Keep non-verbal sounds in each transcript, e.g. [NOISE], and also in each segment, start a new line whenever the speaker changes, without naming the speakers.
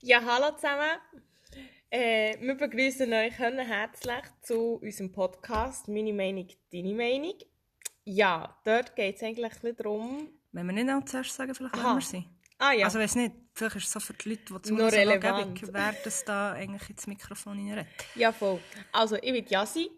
Ja, hallo zusammen. Äh, wir begrüßen euch können herzlich zu unserem Podcast Meine Meinung, deine Meinung. Ja, dort geht es eigentlich ein bisschen darum.
Wenn wir nicht auch zuerst sagen, vielleicht
Aha.
wer wir sind.
Ah ja,
Also weiß nicht, vielleicht ist es so für die Leute, die
Noch
zuhören, so
relevant.
angeblich, wer das da eigentlich ins Mikrofon reinredet.
ja voll. Also, ich bin Jassi.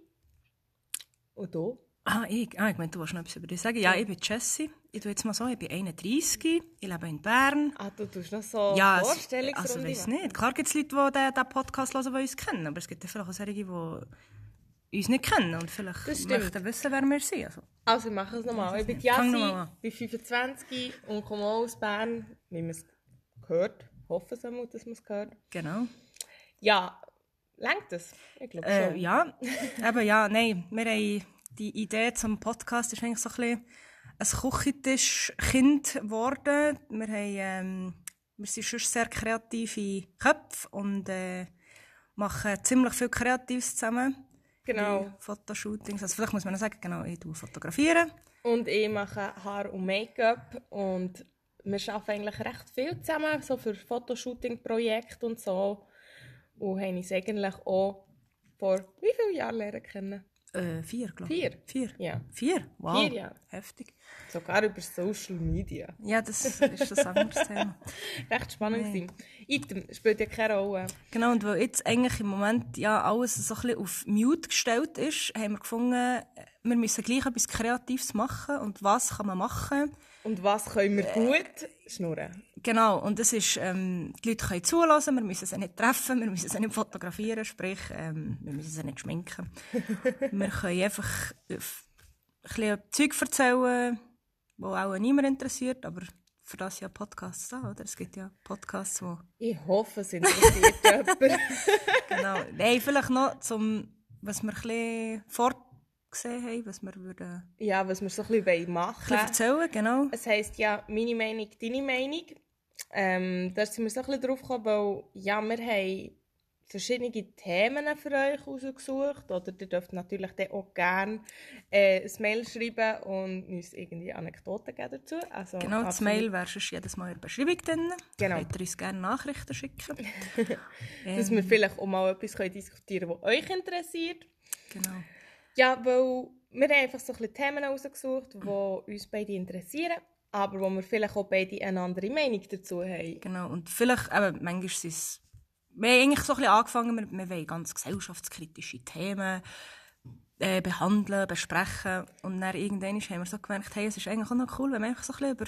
Und du?
Ah, ich, ah, ich meine, du willst noch etwas über dich sagen. Ja, ich bin Jessie. Ich tue jetzt mal so, ich bin 31, ich lebe in Bern.
Ah, du tust noch so
Ja, es,
Vorstellungsrunde
also weiß
machen.
nicht. Klar gibt es Leute, die den, den Podcast hören, die uns kennen, aber es gibt ja vielleicht auch solche, die uns nicht kennen und vielleicht
Das stimmt.
möchten wissen, wer wir sind. Also,
Also, wir machen es nochmal. Ich bin die
Fang
Jassi,
noch mal an.
bin 25 und komme auch aus Bern, wie man es gehört. Hoffen es einmal, dass man es hört.
genau.
Ja, langt das? Ich glaube schon.
Äh, ja, aber ja, nein, wir haben die Idee zum Podcast ist eigentlich so ein bisschen ein Küchentischkind geworden. Wir, haben, ähm, wir sind schon sehr kreative Köpfe und äh, machen ziemlich viel Kreatives zusammen.
genau.
Fotoshootings, also vielleicht muss man noch sagen, genau, ich tue fotografieren.
Und ich mache Haar und Make-up und wir arbeiten eigentlich recht viel zusammen, so für Fotoshooting-Projekte und so. Und haben uns eigentlich auch vor wie vielen Jahren lernen können?
Äh, vier, glaube ich.
Vier.
Vier?
Ja,
Vier? Wow.
Vier, ja.
Heftig.
sogar über Social Media.
Ja, das ist ein anderes Thema.
Recht spannend gewesen. Item spielt ja keine Rolle.
Genau, und weil jetzt eigentlich im Moment ja alles so ein bisschen auf Mute gestellt ist, haben wir gefunden, äh, wir müssen gleich etwas Kreatives machen und was kann man machen.
Und was können wir gut? Schnurren.
Genau, und das ist, ähm, die Leute können zulassen, wir müssen sie nicht treffen, wir müssen sie nicht fotografieren, sprich, ähm, wir müssen sie nicht schminken. wir können einfach äh, f- ein bisschen Zeug erzählen, die auch niemand interessiert, aber für das ja Podcasts da, oder? Es gibt ja Podcasts, die
Ich hoffe, es interessiert [LAUGHS] jemand.
genau. Nein, vielleicht noch zum, was wir ein bisschen vorgesehen haben, was wir würden
Ja, was wir so ein bisschen
ein
machen
bisschen
wollen.
erzählen, genau.
Es heisst ja meine Meinung, deine Meinung. Ähm, da sind wir so ein bisschen drauf gekommen, weil ja, wir haben verschiedene Themen für euch rausgesucht. Oder ihr dürft natürlich dann auch gerne äh, ein Mail schreiben und uns irgendwie Anekdoten geben dazu. Also,
Genau, das
absolut.
Mail wäre sonst jedes Mal in der Beschreibung drin.
Genau.
Könnt ihr uns gerne
[LAUGHS]
Nachrichten schicken. Ähm,
Dass wir vielleicht auch mal etwas können diskutieren können, was euch interessiert.
Genau.
Ja, weil wir haben einfach so ein bisschen Themen rausgesucht, die uns beide interessieren, aber wo wir vielleicht auch beide eine andere Meinung dazu haben.
genau. Und vielleicht, eben, manchmal sind es, wir haben eigentlich so ein bisschen angefangen, wir, wir wollen ganz gesellschaftskritische Themen äh, behandeln, besprechen. Und dann irgendwann haben wir so gemerkt, hey, es ist eigentlich auch noch cool, wenn wir einfach so ein bisschen über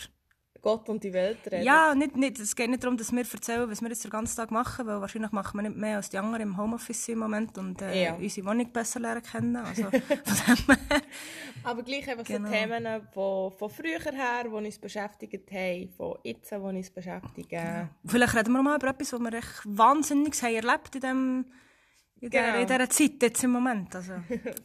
Gott und die Welt reden.
Ja, nicht, nicht, es geht nicht darum, dass wir erzählen, was wir jetzt den ganzen Tag machen, weil wahrscheinlich machen wir nicht mehr als die anderen im Homeoffice sind im Moment und äh,
Ja.
unsere Wohnung besser lernen kennen. Also, von dem her.
Aber gleich einfach
Genau.
so Themen, die von früher her, die uns beschäftigt haben, von jetzt, die uns beschäftigen.
Vielleicht reden wir mal über etwas, was wir echt Wahnsinniges haben erlebt in, dem, in, der,
Genau.
in dieser Zeit jetzt im Moment. Also,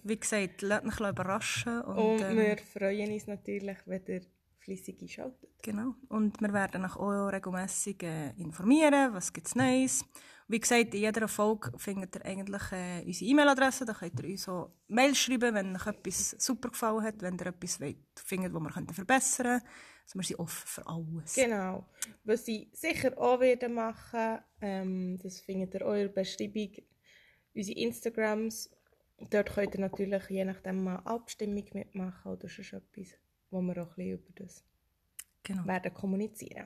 wie gesagt, lasst mich ein bisschen überraschen. Und,
Und
ähm,
wir freuen uns natürlich, wenn ihr fleissig einschaltet.
Genau. Und wir werden euch auch regelmässig äh, informieren, was gibt's Neues. Wie gesagt, in jeder Folge findet ihr eigentlich äh, unsere E-Mail-Adresse. Da könnt ihr uns auch Mail schreiben, wenn euch etwas super gefallen hat, wenn ihr etwas wollt, findet, was wir könnten verbessern könnten. Also wir sind offen für alles.
Genau. Was sie sicher auch werden machen, ähm, das findet ihr auch in der Beschreibung, unsere Instagrams. Dort könnt ihr natürlich je nachdem mal Abstimmung mitmachen oder sonst etwas, wo wir auch ein bisschen über das
Genau.
werden kommunizieren.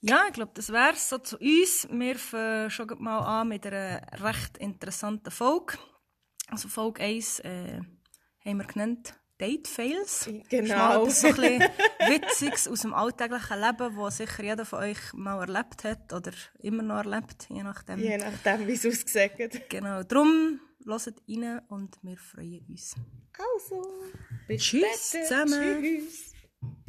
Ja, ich glaube, das wäre so zu uns. Wir fangen schon gleich mal an mit einer eh, recht interessanten Folge. Also Folge 1 äh, haben wir genannt Date Fails. Das ist mal
Genau.
etwas so ein bisschen Witziges aus dem alltäglichen Leben, das sicher jeder von euch mal erlebt hat oder immer noch erlebt, je nachdem.
Je nachdem, wie es ausgesagt hat.
Genau, darum hört rein und wir freuen uns.
Also, bis
Tschüss
später.
zusammen.
Tschüss.